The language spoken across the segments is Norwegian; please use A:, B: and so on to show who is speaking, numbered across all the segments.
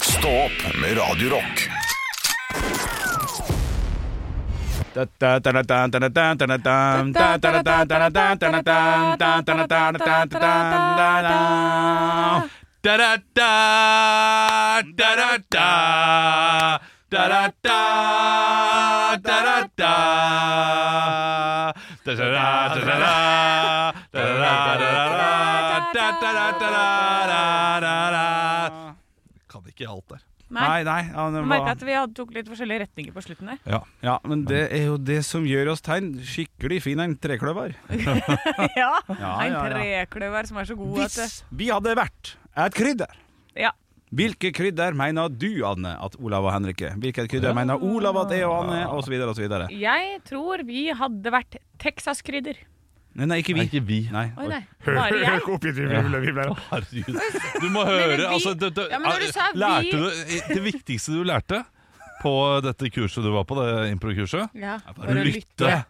A: Stå opp med Radio Rock.
B: Kan ikke alt der.
C: Nei,
D: Nei, nei, ja, det
C: Merka
D: var,
C: at vi hadde tok litt forskjellige retninger på slutten der.
B: Ja.
D: ja, men det er jo det som gjør oss tegn. Skikkelig fin en trekløver.
C: ja.
D: Ja,
C: En
D: ja, ja.
C: trekløver som er så god at
D: Hvis vi hadde vært et krydder
C: Ja.
D: Hvilke krydder mener du, Anne, at Olav og Henrik er? Hvilke krydder mener Olav at jeg og Anne er? Og så videre og så videre.
C: Jeg tror vi hadde vært Texas-krydder.
D: Nei, nei, ikke vi.
B: Nei, ikke vi.
D: Nei.
C: Oi, nei. Bare jeg.
B: Herregud. Du må høre
C: vi-
B: altså, det, det,
C: Ja, men når du sa vi-
B: lærte du, det viktigste du lærte på dette kurset du var på, det improkurset?
C: Ja,
B: Å
C: bare å
B: lytte.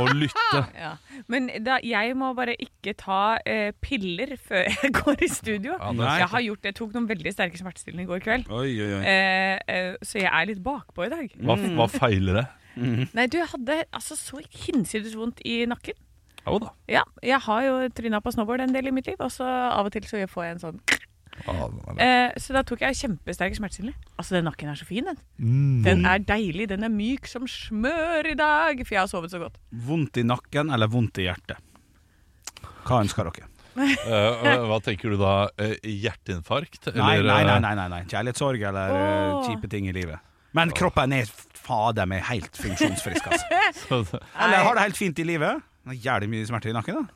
B: Å lytte.
C: Ja. Men da, jeg må bare ikke ta eh, piller før jeg går i studio.
B: Ja, det er
D: Nei.
C: jeg har gjort, jeg tok noen veldig sterke smertestillende i går kveld.
D: Oi, oi, oi.
C: Eh, eh, så jeg er litt bakpå i dag.
B: Hva, hva feiler det?
C: Nei, du, jeg hadde altså så hinsides vondt i nakken.
B: Jo da.
C: Ja, jeg har jo tryna på snowboard en del i mitt liv, og så av og til så får jeg en sånn
B: Ja, det er det.
C: eh, Så da tok jeg kjempesterk smertestillende. Altså, den nakken er så fin, den. Den er deilig. Den er myk som smør i dag, for jeg har sovet så godt.
D: Vondt i nakken eller vondt i hjertet? Hva ønsker dere?
B: Eh, hva tenker du da? Eh, Hjerteinfarkt?
D: Nei,
B: Eller,
D: nei, nei,
B: eh,
D: nei, nei, nei. kjærlighetssorg eller eh,
C: Åh.
D: kjipe ting i livet. Men kroppen er fader meg helt funksjonsfrisk, altså.
B: så-
D: Eller har det helt fint i livet. Det er Jævlig mye smerter i nakken, da.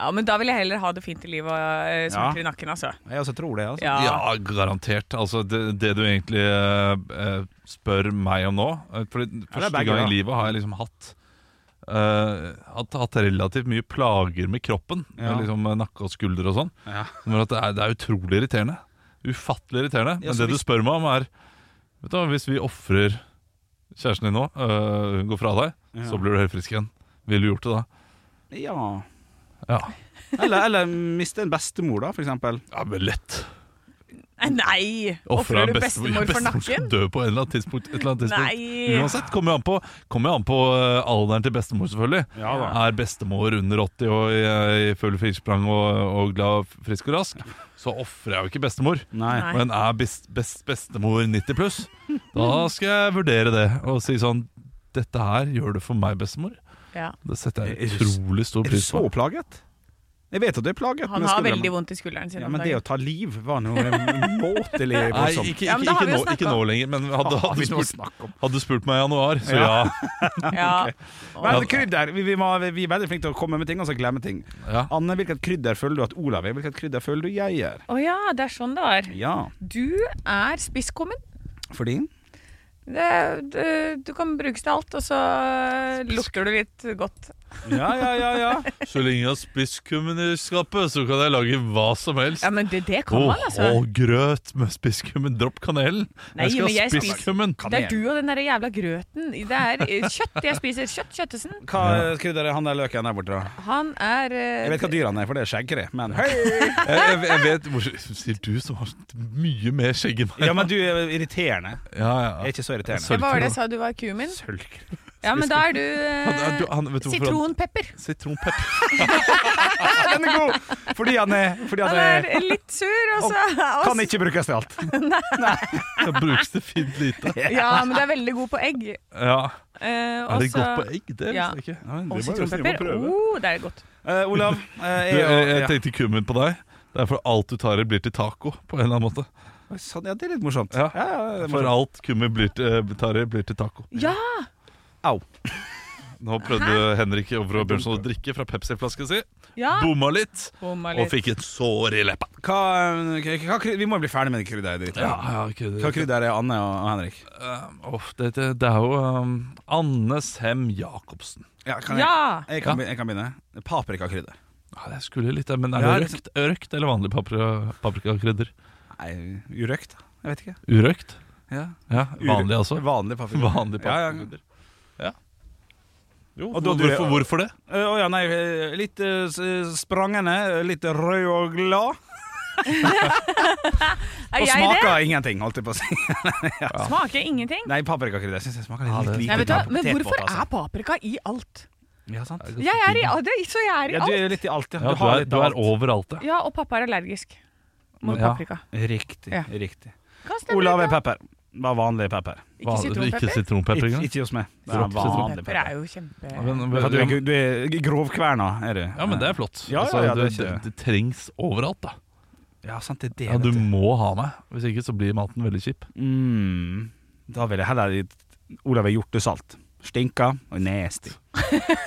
C: Ja, men da vil jeg heller ha det fint i livet og eh, smerter i nakken, altså.
D: Jeg også tror det, altså.
C: Ja.
B: Ja, garantert. Altså, det, det du egentlig eh, eh, spør meg om nå eh, For første
D: begge,
B: gang i
D: da.
B: livet har jeg liksom hatt eh, hatt, hatt relativt mye plager med kroppen.
D: Ja.
B: Med liksom eh, nakke og skulder og sånn.
D: Ja.
B: Som gjør at det, er, det er utrolig irriterende. Ufattelig irriterende.
D: Ja,
B: Men
D: så
B: det du
D: hvis-
B: spør meg om, er Vet du hva, Hvis vi ofrer kjæresten din nå, øh, hun går fra deg, så blir du helt frisk igjen. Ville du gjort det da?
D: ja.
B: Ja,
D: Eller, eller miste en bestemor, da, for eksempel.
B: ja men lett.
C: Nei!
B: Ofrer
C: Ofrer du
B: beste-
C: bestemor for
B: skal
C: nakken?
B: dø på en eller annen tidspunkt, et eller annet tidspunkt.
C: Nei.
B: Uansett, kommer jo an på, kommer jo an på øh, alderen til bestemor, selvfølgelig.
D: Ja da.
B: Er bestemor under 80 og eh, i, i full frisprang og, og glad, frisk og rask, så ofrer jeg jo ikke bestemor.
D: Nei.
C: Nei.
B: Men er best, best, bestemor 90 pluss, da skal jeg vurdere det og si sånn Dette her gjør du for meg, bestemor.
C: Ja.
B: Det setter jeg
D: Er du s-
B: utrolig stor
D: Er du
B: pris på.
D: så plaget? Jeg vet at du er plaget.
C: Han
D: men
C: har
D: skulderen-
C: veldig vondt i skulderen sin.
D: Ja,
C: om
D: men det å
C: dagen.
D: ta liv var noe måtelig
B: Nei,
D: voldsomt.
B: ikke, ikke,
C: Ja, men da har
B: ikke,
C: vi jo
B: nå, ikke nå lenger, men hadde,
D: Faen,
B: hadde,
D: vi må
B: spurt,
D: snakke om.
B: hadde spurt meg i januar, så ja.
C: Ja.
D: Men krydder, vi, vi, må, vi er veldig flinke til å komme med ting og så glemme ting.
B: ja.
D: Anne, hvilket krydder føler du at Olav er? Hvilket krydder føler du jeg er?
C: Å ja, det er sånn det var.
D: Ja,
C: Du er spisskummen.
D: fordi
C: Det, det, du kan brukes til alt, og så lukter du litt godt.
D: Ja, ja, ja, ja.
B: Så lenge jeg har spisskummen i skapet, så kan jeg lage hva som helst.
C: Ja, men det, det kan
B: Åh,
C: man, altså.
B: åh, grøt med spisskummen. Dropp kanelen.
C: Nei,
B: Jeg skal
C: men jeg
B: ha
C: spiser-
B: spisskummen.
C: Det er du og den der jævla grøten. Det er eh, kjøtt jeg spiser. Kjøtt Kjøttesen.
D: Hva eh, krydder er han der løken der borte? da?
C: Han er eh,
D: Jeg vet hva dyr han er, for det er skjeggkre. Men hei!
B: Jeg, jeg, jeg vet hvor, Sier du som har mye mer skjegg enn meg?
D: Ja, men du er irriterende.
B: Ja,
D: Jeg
B: ja.
D: er ikke så irriterende.
C: Hva var det jeg sa du var kumin?
D: Sølvkre.
C: Ja, men da er du,
B: Han er- du-
C: eh,
B: han- vet du hvorfor han-
C: sitronpepper.
B: Sitronpepper.
D: Den er god! Fordi han er, fordi han
C: Han
D: er
C: er litt sur, altså. og så
D: Kan ikke brukes til alt.
B: Det brukes det fint lite.
C: Ja, men du er veldig god på egg.
B: Ja.
C: Eh,
B: Er det
C: også-
B: godt på egg? Det
C: Ja.
B: visste jeg ikke. Ja, det må
C: Og
B: jeg nesten
C: sitronpepper.
B: prøve.
C: Oh, det er godt.
D: Eh, Olav, eh,
B: Du,
D: jeg,
B: jeg, jeg
D: ja.
B: tenkte kummen på deg. Derfor alt du tar i, blir til taco. på en eller annen måte
D: Sånn, ja, det er litt morsomt.
B: Ja.
D: ja, ja, det er
B: For
D: morsomt.
B: alt kummen blir til, eh, tar i, blir til taco.
C: Ja!
D: Au.
B: Nå prøvde Henrik Overå Bjørnson å drikke fra Pepsi-flasken sin.
C: Ja, Oh
B: Bomma litt,
C: bomma
B: og
C: litt.
B: fikk et sår i leppa.
D: Hva, hva, hva, kry- vi må jo bli ferdig med det krydderet ditt.
B: Ja, ja, ikke
D: Hva krydder er Anne og og Henrik?
B: det, det, det er jo ehm, Anne Sem Jacobsen.
D: Ja, kan jeg,
C: Ja!
D: jeg, kan, be- jeg kan begynne. Paprikakrydder.
B: Ja, det skulle litt, der, men er
D: Ja,
B: det røkt, røkt eller vanlig papri- paprikakrydder?
D: Nei, urøkt? da. Jeg vet ikke.
B: Urøkt?
D: Ja.
B: Ja, vanlig altså.
D: Vanlig paprika.
B: Vanlig
D: Ja, ja.
B: paprikakrydder. Ja. Jo,
D: Og da du-
B: hvorfor, hvorfor det?
D: Eh, Å ja, nei, eh, litt eh, s- sprangende, eh, litt rød og glad.
C: Er
D: Og
C: jeg det?
D: smaker ingenting, holdt jeg på å si.
C: Smaker ingenting.
D: Nei, paprikakrydder. Jeg syns jeg smaker
B: Ja,
D: litt
B: det-
D: lite.
C: Nei, vet du, hva?
D: på
C: men
D: potetbåt,
C: hvorfor
D: altså.
C: er paprika i alt?
D: Ja, sant.
C: Jeg er i alt, så jeg er i
D: Ja, du
C: alt.
D: er litt i alt, ja.
B: Ja, du
D: har
B: er,
D: litt
B: du
D: av
B: er
D: alt.
B: overalt, ja.
C: Ja, og pappa er allergisk mot
B: Ja.
C: paprika.
D: Riktig.
C: Ja.
D: riktig
C: Kast den
D: Olav
C: ut,
D: er
C: da.
D: pepper. Bare vanlig pepper.
C: Ikke
B: Vanlig- Ikke
C: sitronpepper.
B: sitronpepper
D: Ikke,
B: engang.
D: ikke hos meg. Det
B: Dropp
D: er vanlig
C: Pepper
D: pepper.
C: er jo kjempe...
B: Men-
D: Det er for at Du
B: men-
D: er, du er grovkverna, er du.
B: Ja, men det er flott.
D: Ja, ja,
B: Altså,
D: ja, det er
B: det,
D: ikke-
B: det trengs overalt, da.
D: Ja, sant, det er det.
B: Ja, du
D: vet du.
B: må ha meg. Hvis ikke så blir maten veldig kjip.
D: Mm. Da vil jeg heller Olav er hjortesalt. Stinka og nasty.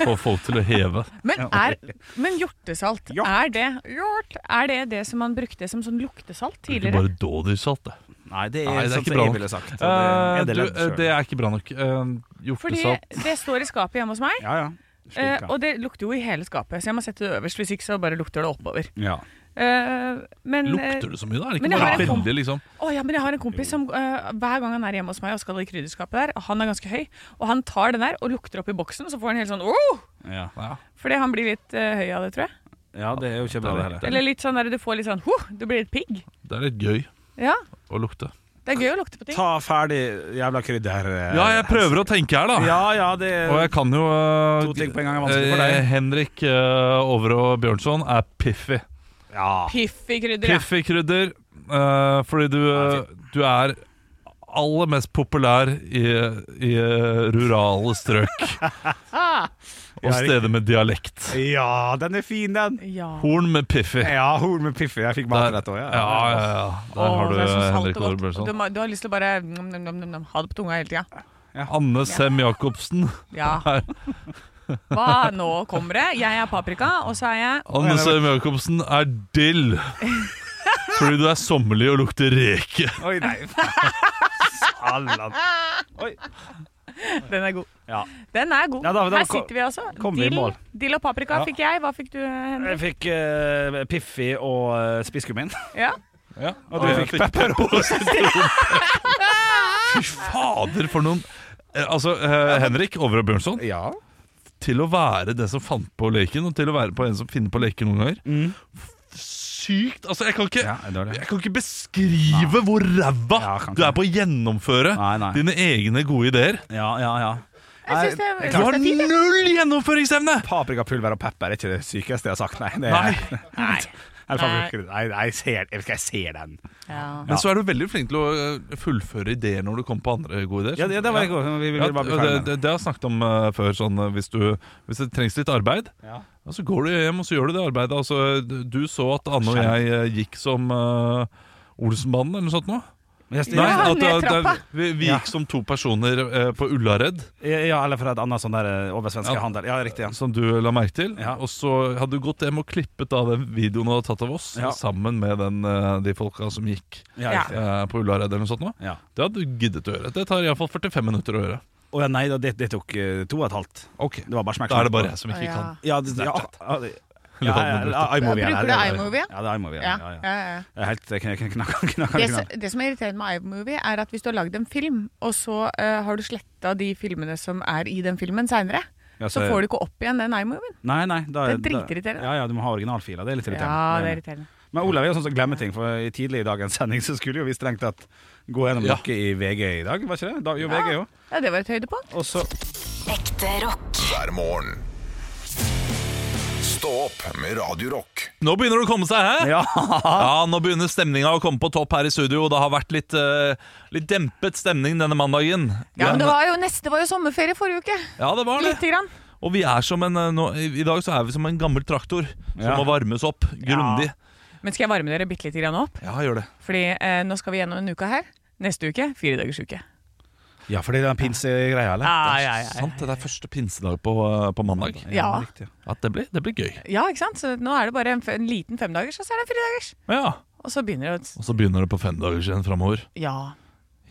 B: Få folk til å heve.
C: Men, er, men hjortesalt,
D: Hjort.
C: er det hjort, Er det det som man brukte som sånn luktesalt
B: Ikke
C: tidligere?
B: bare dådyrsalt, det.
D: Nei, det er,
B: Nei, det er
D: sånn
B: ikke
D: som
B: bra
D: jeg
B: nok.
D: ville sagt. og
B: Eh,
D: det,
B: du,
D: er det
B: eh, det er ikke bra nok. Eh,
C: Fordi
B: Hjortesalt
C: det står i skapet hjemme hos meg,
D: Ja, ja.
C: eh,
D: Stinka.
C: og det lukter jo i hele skapet. Så jeg må sette det øverst, hvis ikke så bare lukter det oppover.
D: ja.
C: Eh, men, eh,
B: Lukter det så mye, da? Er det
C: men
B: ikke
C: jeg
B: bare
C: har en
B: veldig, liksom?
C: Å ja, men jeg har en kompis som eh, hver gang han er hjemme hos meg og skal i krydderskapet der, og han er ganske høy, og han tar den der og lukter opp i boksen, så får han helt sånn åh!
D: Ja.
B: Ja.
C: Fordi han blir litt eh, høy av det, tror jeg.
D: ja, det er jo ikke bra, det heller.
C: Eller litt sånn der du får litt sånn huh, du blir litt pigg.
B: Det er litt gøy
C: Ja,
B: å lukte.
C: det er gøy å lukte på ting.
D: Ta ferdig jævla krydder. eh,
B: Ja, jeg prøver å tenke her, da.
D: Ja, ja, det
B: Og jeg kan jo eh,
D: To ting på en gang er vanskelig for deg.
B: eh, Henrik uh, Over og Bjørnson er piffy.
D: Ja.
C: Piffig krydder, ja.
B: Piffy krydder. eh, fordi du, eh, du er aller mest populær i, i eh, rurale strøk og steder med dialekt.
D: ja, den er fin, den.
C: Ja.
B: Horn med piffy.
D: Ja, horn med piffi. Jeg fikk
B: Eh. Der,
D: matrett òg,
B: ja,
D: ja.
B: ja, ja. Der
C: Åh,
B: har du
C: det er så salt og
B: Henrik Over
C: godt.
B: Bjørnson.
C: Du, må- du har lyst til å bare nom, nom, nom, nom, nom, ha det på tunga hele tida.
B: Anne Sem Jacobsen.
C: Ja. Hva nå kommer det? Jeg er paprika, og så er jeg
B: Anne Sem Jacobsen er dill. Fordi du er sommerlig og lukter reke.
D: Oi, nei. Salan. Oi.
C: Den er god.
D: Ja.
C: Den er god.
D: Ja, da- da
C: Her
D: kom-
C: sitter vi altså.
D: kom vi i
C: Dill,
D: mål.
C: dill og paprika
D: Ja.
C: fikk jeg. Hva fikk du, Henrik?
D: Jeg fikk eh, Piffi og uh, spisskummin.
C: Ja.
D: Og du fikk pepper.
B: Fy fader, for noen Eh, Altså, eh, Henrik Over og Bjørnson,
D: Ja.
B: til å være den som fant på leken, og til å være på en som finner på leker noen ganger F- Sykt! Altså, jeg kan ikke,
D: Mm. Ja, det er det.
B: jeg kan ikke beskrive hvor ræva
D: Ja, kan ikke.
B: du er på å gjennomføre
D: Nei, nei.
B: dine egne gode ideer.
D: Ja, ja, ja. Eh,
C: Jeg syns det, jeg
B: Du
C: synes
B: har
C: det er fint. jeg.
B: null gjennomføringsevne!
D: Paprikapulver og pepper er ikke det sykeste jeg har sagt, nei. Det
B: Nei.
D: er,
C: Nei.
D: Er det paprikakrydder? nei, nei, jeg ser, jeg, jeg ser den.
C: Ja.
B: Men så er du veldig flink til å eh, fullføre ideer når du kommer på andre gode ideer. Sånn.
D: Ja, det, det var jeg god. Vi
B: Ja,
D: ville bare bli
B: det,
D: ferdig med
B: det,
D: den.
B: det har jeg snakket om eh, før. Sånn, eh, hvis, du, hvis det trengs litt arbeid,
D: Ja.
B: ja, så går du hjem og så gjør du det arbeidet. Altså, du du så at Anne og jeg eh, gikk som eh, Olsenbanen eller noe sånt nå?
D: Men jeg-
C: Nei.
B: at,
C: ned
B: eh, det-
C: trappa.
B: vi, vi
D: Ja.
B: gikk som to personer eh, på Ullared,
D: Ja, eller fra et annet sånn der eh, oversvenske
B: Ja.
D: handel. Ja, riktig. Ja.
B: som du la merke til.
D: Ja.
B: Og så hadde du gått hjem og klippet av den videoen du hadde tatt av oss,
D: Ja.
B: sammen med den, eh, de folka som gikk
D: Ja,
C: Ja.
D: riktig.
B: eh, på Ullared eller noe sånt nå.
D: Ja.
B: Det hadde du giddet å gjøre. Det tar iallfall 45 minutter å gjøre.
D: Å ja, nei, da, det, det tok eh, to og et halvt.
B: Ok,
D: Det var bare smekk.
B: Da er det bare jeg som ikke
C: Ja.
B: kan.
D: Ja, det, ja, ja, det- ja, ja, ja, iMovie.
C: Bruker
D: er
C: du
D: det.
C: iMovie?
D: Ja, det er iMovie. Ja, ja, ja.
C: ja, ja.
D: Jeg er Helt kn- kn- knakka knakka-
C: Det,
D: knakka.
C: som- det som er irriterende med iMovie, er at hvis du har lagd en film, og så eh, har du sletta de filmene som er i den filmen seinere,
D: Ja,
C: så får du ikke opp igjen den iMovien.
D: Nei, nei. Da,
C: Det er dritirriterende.
D: Ja, ja, du må ha originalfiler. Det er litt irriterende.
C: Ja, det
D: Det
C: er
D: er-
C: irriterende.
D: Men Olav er jo sånn som glemmer ting, for i tidlig i dagens sending så skulle jo vi strengt tatt gå gjennom
B: Ja.
D: noe i VG i dag, var ikke det? Da, jo, VG, jo.
C: Ja, det var et høydepunkt.
D: Og så
E: Ekte rock.
A: hver morgen. Stå opp med Radio Rock.
B: Nå begynner det å komme seg, hæ?
D: Ja!
B: Ja, nå begynner stemninga å komme på topp her i studio. og Det har vært litt, eh, litt dempet stemning denne mandagen.
C: Ja, men det var jo, neste var jo sommerferie forrige uke.
B: Ja, det var det.
C: Lite grann.
B: Og vi er som en, eh, nå, i i dag så er vi som en gammel traktor som
D: Ja.
B: må varmes opp grundig.
C: Men skal jeg varme dere bitte lite grann opp?
B: Ja, gjør det.
C: Fordi eh, nå skal vi gjennom en uke her. Neste uke, fire dagers uke.
D: Ja, for det er den pinsegreia, eller?
C: Ja, ja, ja,
B: Sant, det er første pinsedag på, eh, på mandag.
C: Ja.
D: riktig.
B: At det blir, det blir gøy.
C: ja, ikke sant? Så nå er det bare en, f- en liten femdagers, og så er det en firedagers.
B: Ja.
C: Og så begynner det å
B: Og så begynner det på femdagers igjen framover.
C: Ja.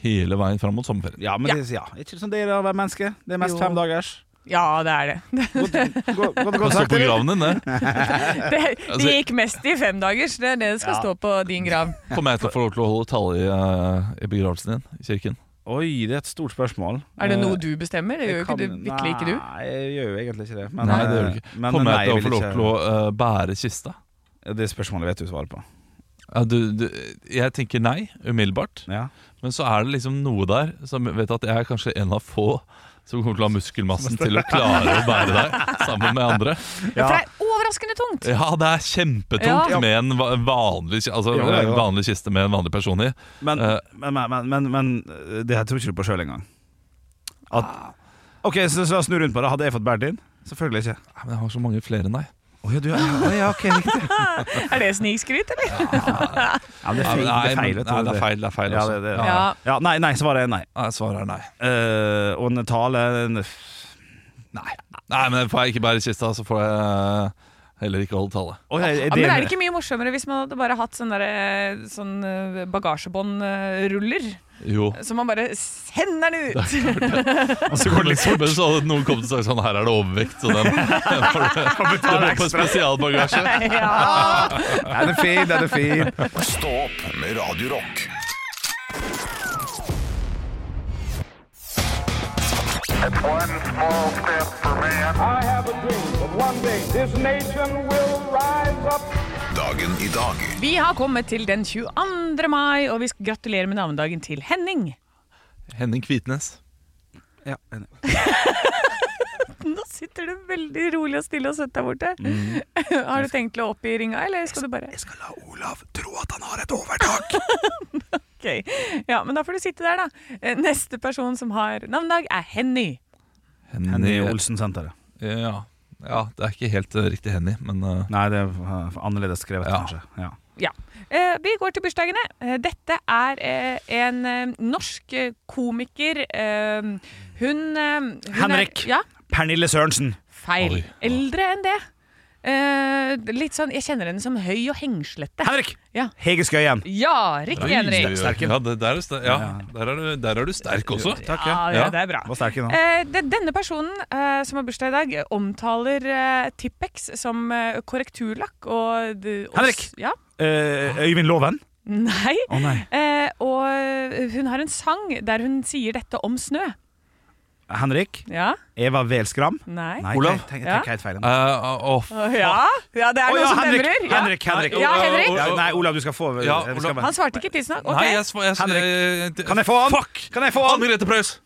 B: Hele veien fram mot sommerferien.
D: Ja, men Det, ja. er ikke sånn det er å være menneske. Det er mest
C: Jo.
D: femdagers.
C: Ja, det er det.
D: Godt, godt, godt,
B: Det står
D: godt sagt.
B: på
D: eller?
B: graven din, det.
C: Det, det gikk mest i femdagers. Det er det det skal stå på din grav.
B: Kommer jeg til å få lov til å holde tale i, eh, i begravelsen din i kirken?
D: Oi, det er et stort spørsmål.
C: Er det noe du bestemmer? Det gjør jo ikke du,
D: Jeg Eh, kan-
C: virkelig ikke du.
D: Nei, jeg gjør jo egentlig ikke det. Men,
B: Nei, det gjør du
D: eh,
B: ikke.
D: men-
B: Kommer
D: nei,
B: jeg til å
D: vil
B: få lov
D: ikke-
B: til å eh, bære kista?
D: Ja, Det spørsmålet vet du svaret på.
B: Ja, du, du, jeg tenker nei, umiddelbart.
D: Ja.
B: Men så er det liksom noe der som vet at jeg er kanskje en av få som kommer til å ha muskelmassen til å klare å bære deg sammen med andre.
C: For det er overraskende tungt!
B: Ja, det er kjempetungt
C: Ja.
B: med en va- vanlig, ki- altså,
D: Jo, jo, jo.
B: en vanlig kiste med en vanlig person i.
D: Men,
B: Eh.
D: men, men, men, men, men det her tror ikke du på sjøl engang.
C: Ah.
D: At Ok, så, så la oss snu rundt på det. Hadde jeg fått båret din? Selvfølgelig ikke.
B: Nei, Men jeg har så mange flere enn deg.
D: Oh, ja, du, ja, ja, ok, riktig.
C: Er det snikskryt, eller?
D: Ja, men det er
B: Nei,
D: feil. Det er
B: men-
D: feil, vet du.
B: nei, det er feil. Det er feil
D: Ja,
B: også.
D: det, det,
B: Ja.
D: ja.
C: Ja.
D: Ja, nei, nei, svaret er nei.
B: Nei, svaret er nei.
D: Eh, og en tale en,
B: Nei, nei men får jeg ikke bære kista, så får jeg eh, heller ikke holde tale.
D: Oi, jeg- jeg
C: Ja, men
D: deler-
C: er det ikke mye morsommere hvis man hadde bare hatt sånn derre- sånn eh, bagasjebåndruller?
B: Jo.
C: Så man bare sender den ut!
B: Og så går det litt fort. Men så hadde noen kommet og sagt sånn Her er det overvekt, så den, den får du den må på spesialbagasje.
C: Ja.
D: Ja, Den er fin, den er fin.
A: Stå opp med Radio Rock.
F: I have a dream that one day this nation will rise up.
A: Dagen i dag
C: Vi har kommet til den 22. mai, og vi skal gratulere med navnedagen til Henning.
B: Henning Kvitnes.
D: Ja,
C: Nå sitter du veldig rolig og stille og søtt der borte. Har du tenkt å opp i ringa, eller skal du bare Jeg skal la Olav tro at han har et overtak. ok, ja, Men da får du sitte der, da. Eh, Neste person som har navnedag, er Henny.
D: Henny Olsen-senteret.
B: Ja. ja, det er ikke helt eh, riktig Henny, men eh,
D: Nei, det er eh, annerledes skrevet,
B: Ja.
D: kanskje. Ja.
C: Ja. Eh, Vi går til bursdagene. Eh, Dette er eh, en eh, norsk eh, komiker. eh, Hun, eh, hun er-
D: Henrik.
C: ja,
D: Pernille Sørensen.
C: feil.
B: Oi.
C: Eldre enn det. Eh, Litt sånn, Jeg kjenner henne som høy og hengslete.
D: Henrik!
C: Ja.
D: Hege Skøyen.
C: Ja, riktig,
B: Oi,
C: Henrik.
D: Sterken.
B: Ja, det, der, er du ster ja der, er du, der er du sterk også.
D: Takk, ja.
C: Ja,
B: Ja.
C: ja, det er bra.
D: Var sterk i nå.
C: Eh, de- denne personen eh, som har bursdag i dag, eh, omtaler eh, Tippex som eh, korrekturlakk og de- og
D: Henrik!
C: s- Ja.
D: Eh, Øyvind Loven.
C: Nei.
D: Å nei.
C: Eh, og eh, hun har en sang der hun sier dette om snø.
D: Henrik.
C: Ja?
D: Eva Welskram.
C: Nei?
D: Nei,
B: Olav.
D: tenk- tenk-
C: Ja.
D: tenk helt feil.
B: Eh, å, f-
C: Å, ja. ja, det er
D: Å,
C: noe
D: ja,
C: som
D: Henrik,
C: demrer. Ja.
D: Henrik, Henrik.
C: Ja, Henrik.
D: Ja, nei, Olav, du skal få
B: Ja,
D: vi skal
B: Olav.
D: bare-
C: Han svarte ikke tidsnok. Ok.
B: Nei, jeg, sv- jeg, eh,
D: Henrik.
B: jeg, jeg
D: Kan jeg få han?
B: Fuck!
D: Kan jeg få
B: Anne
D: han?
B: Grete Preus!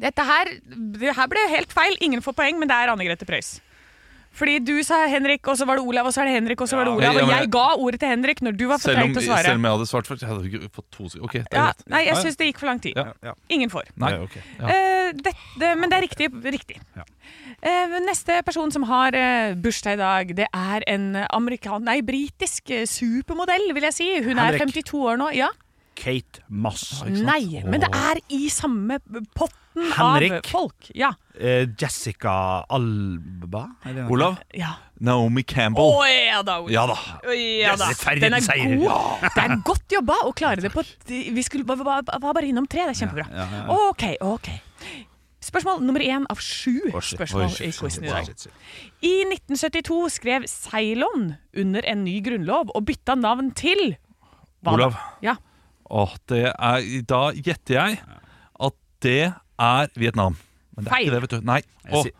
C: Dette her, det her ble helt feil. Ingen får poeng, men det er Anne Grete Preus. Fordi du sa Henrik, og så var det Olav, og så er det Henrik, og så var det
B: Ja,
C: Olav. Og
B: men-
C: jeg ga ordet til Henrik når du var for
B: Selv om,
C: treig til å svare.
B: selv om jeg hadde svart først, jeg hadde ikke fått to sekunder. Ok, det er
C: Ja,
B: greit.
C: nei, jeg syns det gikk for lang tid.
B: Ja.
D: Ja.
C: Ingen får.
B: Nei.
D: Ja, ok.
B: Ja.
C: Eh, det, det, men det er riktig. riktig.
D: Ja.
C: Eh, neste person som har eh, bursdag i dag, det er en amerikan... Nei, britisk eh, supermodell, vil jeg si. Hun er
D: Henrik.
C: 52 år nå. Ja.
D: Kate Moss.
B: Ikke sant?
C: Nei, men det er i samme potten
D: Henrik.
C: av folk. Ja.
D: Eh, Jessica Alba? Er det noe?
B: Olav.
C: ja.
B: Naomi
C: Å
B: Campbell.
C: ja da, Ole.
B: Ja da.
C: Å, ja da.
D: Rettferdig
C: Den er
D: seier.
C: god. Det er godt jobba å klare det på Vi skulle, var, var, var bare innom tre. Det er kjempebra.
D: Ja, ja,
C: OK, OK. Spørsmål nummer én av sju
D: Å, shit. Oi,
C: spørsmål
D: shit,
C: i
D: shit,
C: quizen i
D: shit,
C: dag.
D: shit, shit.
C: I 1972 skrev Ceylon under en ny grunnlov og bytta navn til hva da?
B: Olav.
C: Ja.
B: Åh, det er, da gjetter jeg at det er Vietnam. Men det er
C: Feil.
B: ikke det, vet du. Nei.
D: Jeg
B: Åh,
D: sier-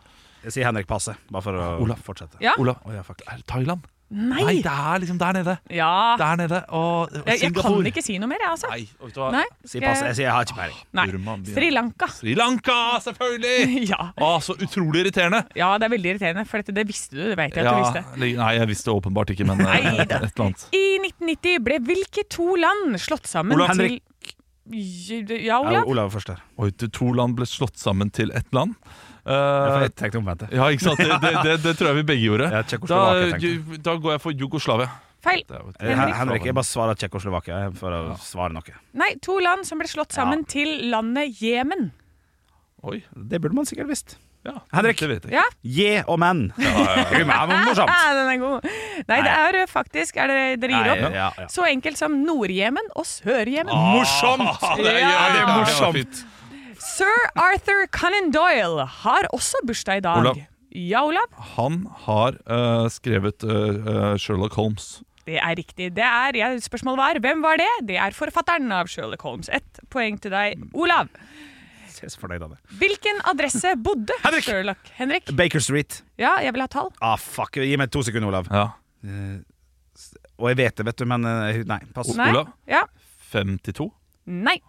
D: Jeg sier Henrik Passe, bare for å
B: Olav.
D: fortsette.
C: Ja.
B: Olav.
D: Å, ja, fuck.
B: Er det Thailand?
C: Nei.
B: Nei, det er liksom der nede.
C: ja.
B: Der nede. Og
C: Jeg, jeg
B: Singapore.
C: kan ikke si noe mer, jeg, altså.
B: Nei, vet du hva?
C: Nei.
D: Si passe. Jeg
C: skal-
D: sier jeg har ikke peiling.
C: Nei.
B: Burma, Bjørn.
C: Sri Lanka.
B: Sri Lanka, selvfølgelig!
C: Ja.
B: Å, så utrolig irriterende.
C: ja, det er veldig irriterende, for dette det visste du. Det vet jeg at
B: Ja,
C: du visste.
B: li- nei, jeg visste åpenbart ikke, men eh,
C: Nei
B: et
C: da.
B: eller annet.
C: I 1990 ble hvilke to land slått sammen
D: Olav.
C: til Ja,
D: Ja,
C: Olav?
D: Olav var først der.
B: Oi, to- to land ble slått sammen til ett land. Eh,
D: Jeg tenkte omvendt. jeg.
B: ja, ikke sant? Det, det, det, det tror jeg vi begge gjorde.
D: Ja, Tsjekkoslovakia,
B: Da,
D: tenkte jeg.
B: da går jeg for Jugoslavia.
C: Feil.
B: Det er jo et-
D: Eh, Hen- Henrik, jeg bare svarer Tsjekkoslovakia for å svare noe.
C: Nei, to land som ble slått sammen til landet Jemen.
B: Oi,
D: Det burde man sikkert visst.
B: ja,
D: Henrik.
B: Det vet jeg.
C: Ja,
D: Je og men. Det er morsomt.
C: den er god. Nei, det er eh, faktisk er det, Dere gir
D: Nei,
C: opp.
D: ja, ja.
C: Så enkelt som Nord-Jemen og Sør-Jemen.
B: Ah. Morsomt! det er,
C: Ja, det er
D: morsomt.
B: fint.
C: Sir Arthur Conan Doyle har også bursdag i dag.
B: Olav.
C: Ja, Olav.
B: Han har eh, skrevet eh, eh, Sherlock Holmes.
C: Det er riktig. Det er, ja, spørsmålet var hvem var det? Det er forfatteren av Sherlock Holmes. Ett poeng til deg, Olav.
D: Jeg er så fornøyd av det.
C: Hvilken adresse bodde
D: Henrik.
C: Sherlock Henrik?
D: Baker Street.
C: Ja, jeg vil ha tall.
D: Ah, fuck. Gi meg to sekunder, Olav.
B: Ja.
D: Og jeg vet det, vet du, men eh, Nei, pass.
C: Nei.
B: Olav?
C: Ja.
B: 52?
C: Nei.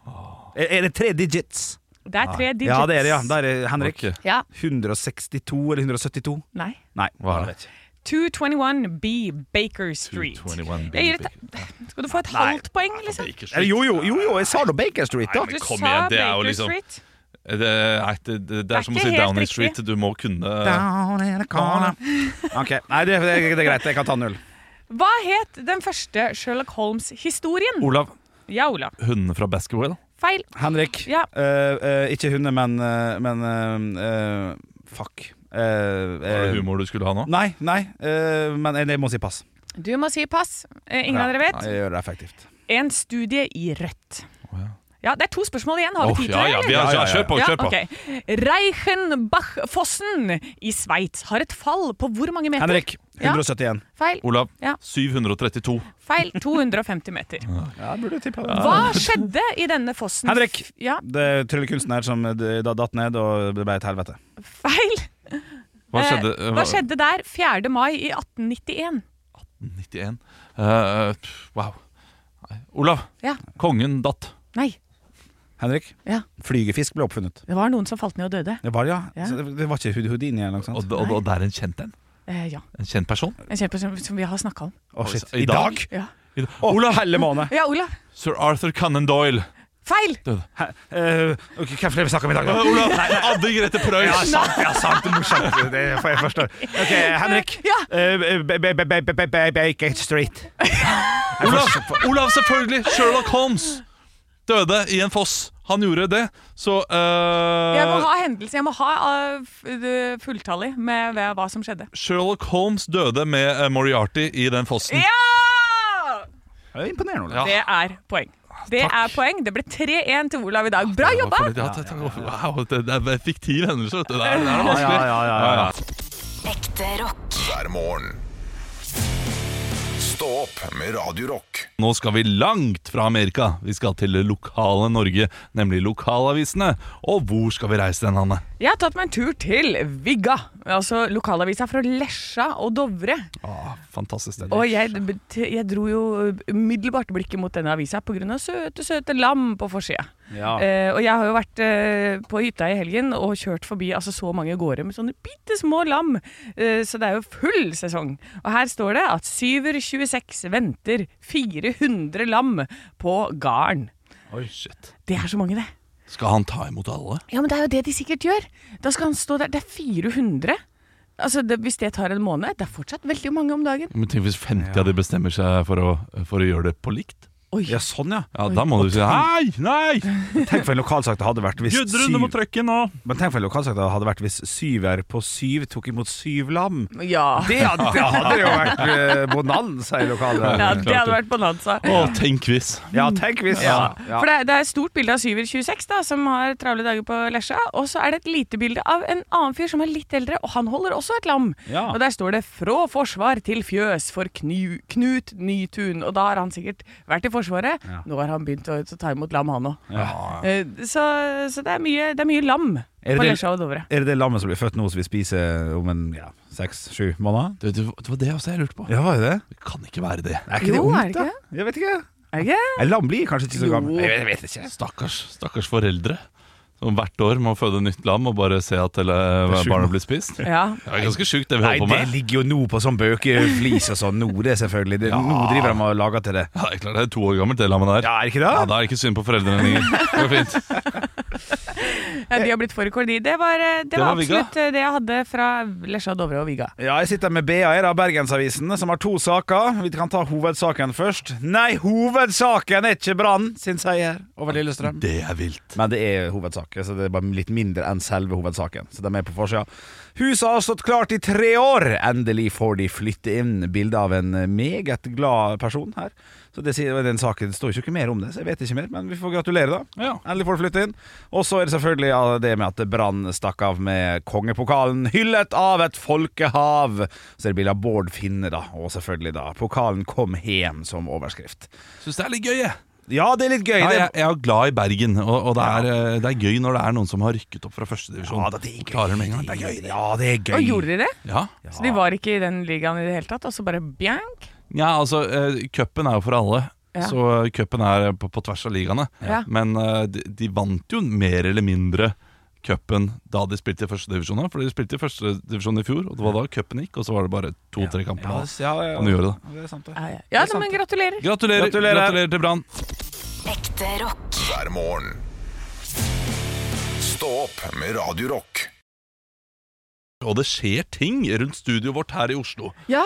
D: Er er det tre digits?
C: Det er tre digits.
D: Ah. Ja, det er det, ja. Da er det Henrik.
B: Ok.
C: Ja.
D: 162 eller 172?
C: Nei.
D: Nei.
B: Hva er
D: jeg vet ikke.
C: 221B Baker Street.
B: 221
C: Jeg gir et, skal du få et halvt poeng, liksom?
D: Eh, Jo, jo, jo, jo, jeg sa nå Baker Street, da.
B: Nei,
C: Du
B: men kom
C: sa
B: igjen, det er jo
C: Baker
B: liksom-
C: Street.
B: Det, er- det, det, det
C: er
B: er som å
C: ikke
B: si
C: helt
B: Downing
C: riktig.
B: Street. Du må kunne
D: Down in a corner. Ok, Nei, det, det, det er greit. Jeg kan ta null.
C: Hva het den første Sherlock Holmes-historien?
B: Olav,
C: Ja, Olav.
B: hundene fra Baskerville?
C: Feil.
D: Henrik.
C: Ja.
D: Eh, eh, ikke hunde, men, eh, men eh, eh, Fuck. Eh,
B: Var
D: eh,
B: det humor du skulle ha nå?
D: nei, nei, eh, men jeg, jeg må si pass.
C: Du må si pass. Eh, Ingen av dere vet.
D: Jeg gjør det effektivt.
C: En studie i rødt.
B: ja.
C: Ja, Det er to spørsmål igjen. Har vi
B: Åh,
C: tid til
B: ja,
C: det?
B: ja, vi
C: eller?
B: har,
D: Ja,
B: ja,
D: ja, ja.
B: kjør på.
C: Ja,
B: kjør på
C: ok. Reichenbach-fossen i Sveits har et fall på hvor mange meter?
D: Henrik.
C: Ja.
D: 171.
C: Feil.
B: Olav,
C: Ja.
B: 732.
C: Feil. 250 meter.
D: Ja, jeg burde tippa det.
C: Hva skjedde i denne fossen?
D: Henrik.
C: Ja,
D: Det er tryllekunstner som eh, da datt ned, og det ble et helvete.
C: feil.
B: Hva
C: Eh,
B: skjedde?
C: Hva skjedde der 4. mai i 1891?
B: 91. Eh, pff, wow. Nei. Olav,
C: Ja.
B: kongen datt.
C: Nei,
D: Henrik.
C: Ja.
D: Flygefisk ble oppfunnet.
C: det var noen som falt ned og døde.
D: Det var det, ja.
C: Ja.
D: Så det- Det var ikke Houd- Houdini eller noe
B: Og,
D: sånt?
B: og, og, det er en kjent en?
C: Eh, ja,
B: En kjent person?
C: En kjempe som, som vi har snakka om.
D: Å, shit.
B: I
D: I
B: dag?
D: dag?
C: Ja.
D: Å, Olav helle måned!
C: ja, Olav.
B: Sir Arthur Conan Doyle.
C: Feil!
D: Uh, okay, hva er det vi snakker om i dag, da?
B: Olav, Adde Grete
D: Ja,
B: Preus.
D: sant, ja, sant, det er morsomt. Det får jeg forstå. Ok, Henrik.
C: Ja.
D: Eh, b- b- b- b- b- b- Baker Street.
B: Olav, Olav, selvfølgelig! Sherlock Holmes døde i en foss. Han gjorde det, så eh,
C: Jeg må ha hendelse, jeg må ha eh, f- det fulltallig med hva- hva som skjedde.
B: Sherlock Holmes døde med eh, Moriarty i den fossen.
C: Ja!
D: Det er Imponerende,
B: Ja.
D: Olav.
C: Det er poeng. Det er poeng. Det ble 3-1 til Olav i dag. Bra
B: Ja,
C: jobba!
B: for Ah, det- ja, takk, takk. Wow, det, det er en fiktiv hendelse, vet du. Det er, det er noe
D: Ja,
B: vanskelig.
D: ja, ja, ja, ja.
E: Ekte rock.
A: hver morgen. Stå opp med Radio Rock.
B: Nå skal vi langt fra Amerika. Vi skal til det lokale Norge, nemlig lokalavisene. Og hvor skal vi reise den, Hanne?
C: Jeg har tatt meg en tur til Vigga, altså lokalavisa fra Lesja og Dovre.
B: Ah, fantastisk sted.
C: Og jeg, jeg dro jo eh, umiddelbart blikket mot denne avisa pga. søte, søte lam på forsida. Eh, og jeg har jo vært eh, på hytta i helgen og kjørt forbi altså, så mange gårder med sånne bitte små lam. Eh, så det er jo full sesong. Og her står det at Syver26 venter 400 lam på garden.
B: Oi, shit.
C: Det er så mange, det.
B: Skal han ta imot alle?
C: Ja, men det er jo det de sikkert gjør. Da skal han stå der. Det er 400. Altså, det, Hvis det tar en måned Det er fortsatt veldig mange om dagen.
B: Men Tenk hvis 50 av de bestemmer seg for å, for å gjøre det på likt?
C: Oi.
D: Ja, sånn, ja.
B: Ja, Da må du si hei, nei!
D: Tenk for en lokalsak det hadde vært hvis
B: Gudrun, du må
D: syv
B: trykke nå!
D: Men tenk for en lokalsak det hadde vært hvis syver på syv tok imot syv lam.
C: Ja.
D: Det hadde, det hadde jo vært eh, bonanza i
C: ja,
D: lokalet.
C: det hadde vært bonanza.
B: Å, tenk hvis.
D: Ja, tenk hvis.
C: Ja.
D: Ja.
C: For det, er- det er et stort bilde av Syver26 da, som har travle dager på Lesja. Og så er det et lite bilde av en annen fyr som er litt eldre, og han holder også et lam.
D: Ja.
C: Og der står det 'Frå forsvar til fjøs for knu, Knut Nytun'. Og da har han sikkert vært i Forsvaret. Nå har han begynt å, å ta imot lam, han òg. Eh, Så, så det, er mye, det er mye lam
D: Er det
C: på
D: det-
C: Lesja og Dovre.
D: Er det det lammet som blir født nå, som vi spiser om en ja, seks-sju måneder?
B: Det, det, det var det også jeg lurte på.
D: Ja, var det det?
B: Det kan ikke være det.
D: Er ikke det
C: Jo, er
D: ungt,
C: det
D: da?
C: ikke
D: Jeg vet ikke.
C: Er det ikke?
D: En lam blir kanskje ikke så
C: Jo.
D: gammel. Jeg vet- jeg vet ikke.
B: Stakkars, stakkars foreldre. Som hvert år må føde nytt lam og bare se at eller,
D: Det er sjukt.
B: barnet blir spist. Det
C: Ja.
B: er ganske sjukt, det vi
D: Nei,
B: holder på
D: det
B: med.
D: ligger jo nå på sånn bøkeflis og sånn. Nå, det er selvfølgelig det, Nå driver de og lager til det.
B: Ja, det er klart det er to år gammelt, det lammet der.
D: Ja, er det ikke det?
B: Ja, Da er det ikke synd på foreldrene lenger. Det går fint.
C: Ja, de har blitt fårikål, de. Det var, eh, det
D: Det
C: var
D: var Vigga.
C: absolutt eh, det jeg hadde fra Lesja, Dovre og Vigga.
D: Ja, jeg sitter med BA her av Bergensavisen, som har to saker. Vi kan ta hovedsaken først. Nei, hovedsaken er ikke Brann sin seier over Lillestrøm.
B: Det er vilt.
D: Men det er hovedsaken, så det er bare litt mindre enn selve hovedsaken. Så de er på forsida. Huset har stått klart i tre år. Endelig får de flytte inn. Bilde av en meget glad person her. Så det sier, Den saken står jo ikke mer om det, så jeg vet ikke mer. Men vi får gratulere, da.
B: Ja.
D: Endelig får de flytte inn. Og så er det selvfølgelig ja, det med at Brann stakk av med kongepokalen, hyllet av et folkehav. Så er det bilde av Bård Finne, da. Og selvfølgelig, da. Pokalen kom hjem som overskrift.
B: Syns det er litt gøy, jeg.
D: Ja, det er litt gøy.
B: Ja,
D: det-
B: jeg, jeg er glad i Bergen, og, og det, er, eh, det er gøy når det er noen som har rykket opp fra førstedivisjon.
D: Ja, da, det er gøy.
B: Klarer det med en gang. Det er gøy, det.
D: Ja, det er gøy.
C: Og gjorde de det?
B: Ja.
C: Så de var ikke i den ligaen i det hele tatt, og så bare bjank?
B: ja, altså, eh, cupen er jo for alle.
C: Ja.
B: Så eh, cupen er på, på tvers av ligaene.
C: Ja.
B: Men eh, de, de vant jo mer eller mindre cupen da de spilte i førstedivisjon. For de spilte i førstedivisjon i fjor, og det var da cupen gikk. Og så var det bare to-tre kamper
D: Ja,
B: nå.
D: s- ja, ja, ja.
B: Og nå gjør det det.
D: Det er sant, det.
C: Ja, ja. ja men gratulerer.
B: Gratulerer,
D: Gratulerer.
B: gratulerer. til Brann.
E: Ekte rock.
A: hver morgen. Stå opp med Radio Rock.
B: Og det skjer ting rundt studioet vårt her i Oslo.
C: Ja!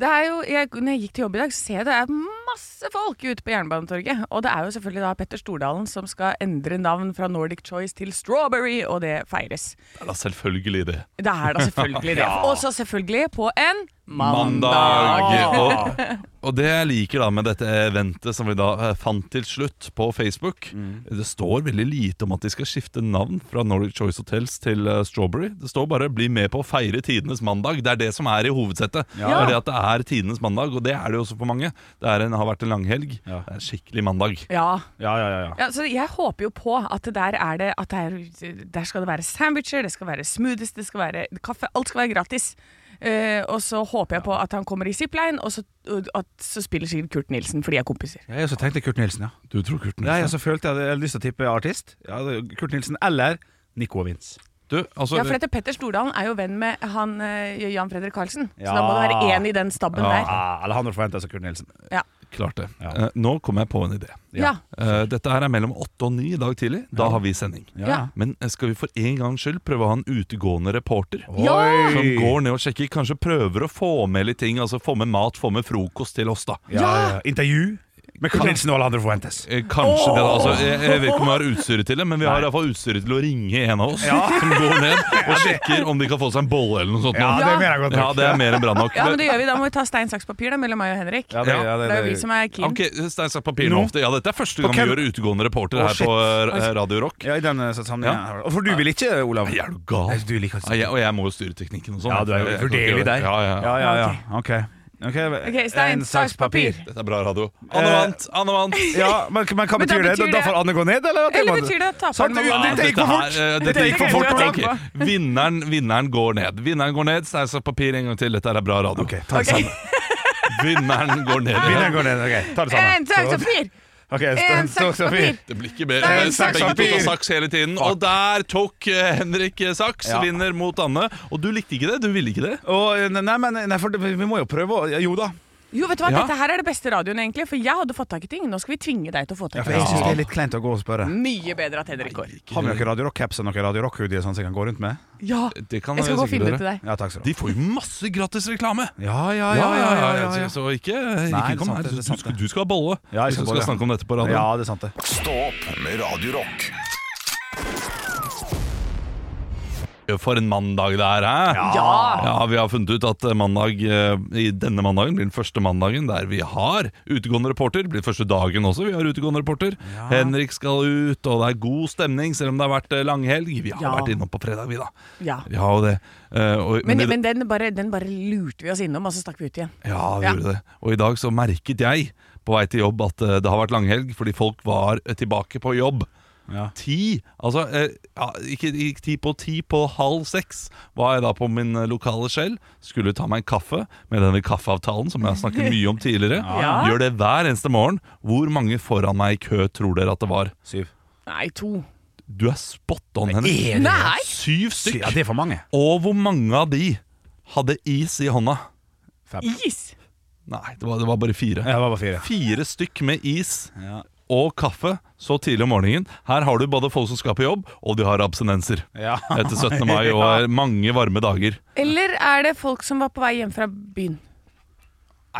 C: Det er jo, jeg, når jeg gikk til jobb i dag, så ser jeg det er masse folk ute på Jernbanetorget. Og det er jo selvfølgelig da Petter Stordalen som skal endre navn fra Nordic Choice til Strawberry, og det feires.
B: Det er da selvfølgelig det.
C: Det er da selvfølgelig det. Og så selvfølgelig på en
B: mandag. Og, og det jeg liker da med dette eventet som vi da eh, fant til slutt på Facebook Det står veldig lite om at de skal skifte navn fra Nordic Choice Hotels til eh, Strawberry. Det står bare 'bli med på å feire tidenes mandag'. Det er det som er i hovedsettet. Det er det at det er tidenes mandag, og det er det jo også for mange. Det er en, har vært en langhelg.
D: Ja.
B: Det er en skikkelig mandag.
C: Ja.
D: Ja, ja, ja, ja.
C: Ja, så jeg håper jo på at det der er det at der, der skal det være sandwicher, det skal være smoothies, det skal være kaffe. Alt skal være gratis. Eh, og så håper jeg på at han kommer i zipline, og så, og at, så spiller sikkert Kurt Nilsen, for de er kompiser.
D: Jeg også tenkte Kurt Nilsen, ja.
B: Du tror Kurt
D: ja jeg også følte jeg hadde jeg hadde lyst til å tippe artist. Ja, det- Kurt Nilsen eller Nico og Vince.
B: Du, altså,
C: Ja, for dette Petter Stordalen er jo venn med han eh, Jan Fredrik Karlsen, så
D: Ja.
C: da må det være én i den stabben der.
D: Ah, eller han hadde forventa seg Kurt Nilsen.
B: klart det.
D: Ja.
B: Eh, nå kom jeg på en idé.
C: Ja.
B: Eh, dette her er mellom åtte og ni i dag tidlig. Da har vi sending.
C: Ja.
B: Men eh, skal vi for en gangs skyld prøve å ha en utegående reporter?
D: Oi!
B: Som går ned og sjekker, kanskje prøver å få med litt ting. Altså Få med mat, få med frokost til oss, da.
D: Ja, ja. Intervju med Kurt Nilsen og Alejandro Fuentes.
B: Eh, Kanskje det, da. Altså, jeg, jeg vet ikke om vi har utstyret til det, men vi har iallfall utstyret til å ringe en av oss som går ned og sjekker om de kan få seg en bolle eller noe sånt.
D: Ja,
B: nå.
D: det
C: Ja.
D: mener jeg godt. nok.
B: ja, det er mer enn bra nok.
C: ja, men det gjør vi. Da må vi ta stein, saks, papir da, mellom meg og Henrik.
D: Ja, det- ja, det-
C: det er jo
D: det-
C: vi som er keen.
B: Ok, Stein Saks Papir
D: Nå.
B: nå. Ja, dette er første gang
D: hvem-
B: vi gjør utegående reporter
D: Å,
B: her
D: shit.
B: på eh, Radio Rock.
D: Ja, i den eh, sammenhengen.
B: Ja.
D: her. Og For du vil ikke, Olav?
B: Nei, er du gal?
D: Nei, du liker ikke
B: Ja, jeg, og jeg må jo styre teknikken og sånn.
D: Ja, du er jo
B: Jeg- jeg-
D: uvurderlig der.
B: Ja, ja, ja.
D: Ja, ja, ja. Ok.
C: Ok, stein,
D: En
C: saks, papir.
B: Dette er bra radio. Anne
D: Eh,
B: vant! Anne vant!
D: Ja, men, men hva
C: Men da
D: betyr det?
C: betyr
D: Da- Da
C: det-
D: får Anne gå ned, eller? at jeg
C: Eller
D: må-
C: betyr det
D: Sant,
C: taperen må
D: du-
C: gå?
D: det- Dette gikk for fort.
B: her, eh, dette
C: Dette
B: gikk for
C: gikk
B: fort.
C: for fort.
B: Ok, Vinneren, vinneren går ned. Vinneren går ned, Stein, saks, papir en gang til. Dette er bra radio.
D: Ok, ta det samme.
B: Vinneren går ned.
D: Vinneren går ned. Ok, ta det samme.
C: En saks, papir!
D: Ok,
C: En
D: stein,
C: saks, papir!
B: Det blir ikke mer. Eh,
C: Stein,
B: Begge
C: saks,
B: to tar
D: papir.
B: saks hele tiden. Og der tok eh, Henrik eh, saks.
D: Ja.
B: Vinner mot Anne. Og du likte ikke det? Du ville ikke det?
D: Og, eh, nei, men nei, for det- vi må jo prøve å ja, Jo da.
C: Jo, vet du hva,
B: Ja.
C: dette her er det beste radioen egentlig, for jeg hadde fått tak i ting. Nå skal vi tvinge deg til å få tak i
D: for jeg
C: ting.
D: syns det er litt kleint å gå og spørre.
C: Mye bedre at Henrik går.
D: Har vi noen Radio Rock-caps og noen Radio Rock-hoodier sånn som jeg kan gå rundt med?
C: Ja,
D: Eh,
B: Det kan
C: jeg skal
B: jeg
C: gå og
B: sikkert
C: finne
B: gjøre.
C: det til deg.
D: Ja, takk skal du
B: De får jo masse gratis reklame!
D: ha. Ja, ja, ja. ja, ja, ja, ja,
B: Så, så ikke,
D: Nei,
B: ikke kom
D: sant
B: her.
D: det, det
B: Du,
D: er sant
B: skal-
D: det.
B: du skal ha bolle hvis du
D: Ja, jeg skal ha
B: skal
D: bolle.
B: snakke om dette på radioen.
D: ja, det er sant, det.
A: Stå opp med Radio Rock
B: For en mandag det er, hæ?
C: Ja.
B: Ja, Vi har funnet ut at mandag eh, i denne mandagen blir den første mandagen der vi har utegående reporter. Det blir den første dagen også vi har utegående reporter. Henrik skal ut, og det er god stemning selv om det har vært eh, langhelg. Vi har
C: Ja.
B: vært innom på fredag, vi, da.
C: Ja.
B: Vi har jo det. Eh, og,
C: Men,
B: i-
C: men den, bare, den bare lurte vi oss innom, og så stakk vi ut igjen.
B: Ja, vi
C: Ja.
B: gjorde det. Og i dag så merket jeg på vei til jobb at eh, det har vært langhelg, fordi folk var eh, tilbake på jobb.
D: Ja.
B: Ti Altså, eh, ja, ikke, ikke ti på ti, på halv seks var jeg da på min eh, lokale skjell. Skulle ta meg en kaffe med denne kaffeavtalen som jeg har snakket mye om tidligere.
C: Ja.
B: Gjør det hver eneste morgen. Hvor mange foran meg i kø tror dere at det var?
D: Syv.
C: Nei, to.
B: Du er spot on, Henrik.
D: Er det-
C: Nei!
B: Syv
D: Syv,
B: stykk.
D: Ja, det er for mange.
B: Og hvor mange av de hadde is i hånda?
C: Is!
B: Nei, det var, det var bare fire.
D: Jeg var bare fire.
B: Fire stykk med is
D: Ja.
B: og kaffe så tidlig om morgenen. Her har du både folk som skal på jobb, og de har abstinenser.
D: Ja.
B: Etter 17. mai og er mange varme dager.
C: Eller er det folk som var på vei hjem fra byen?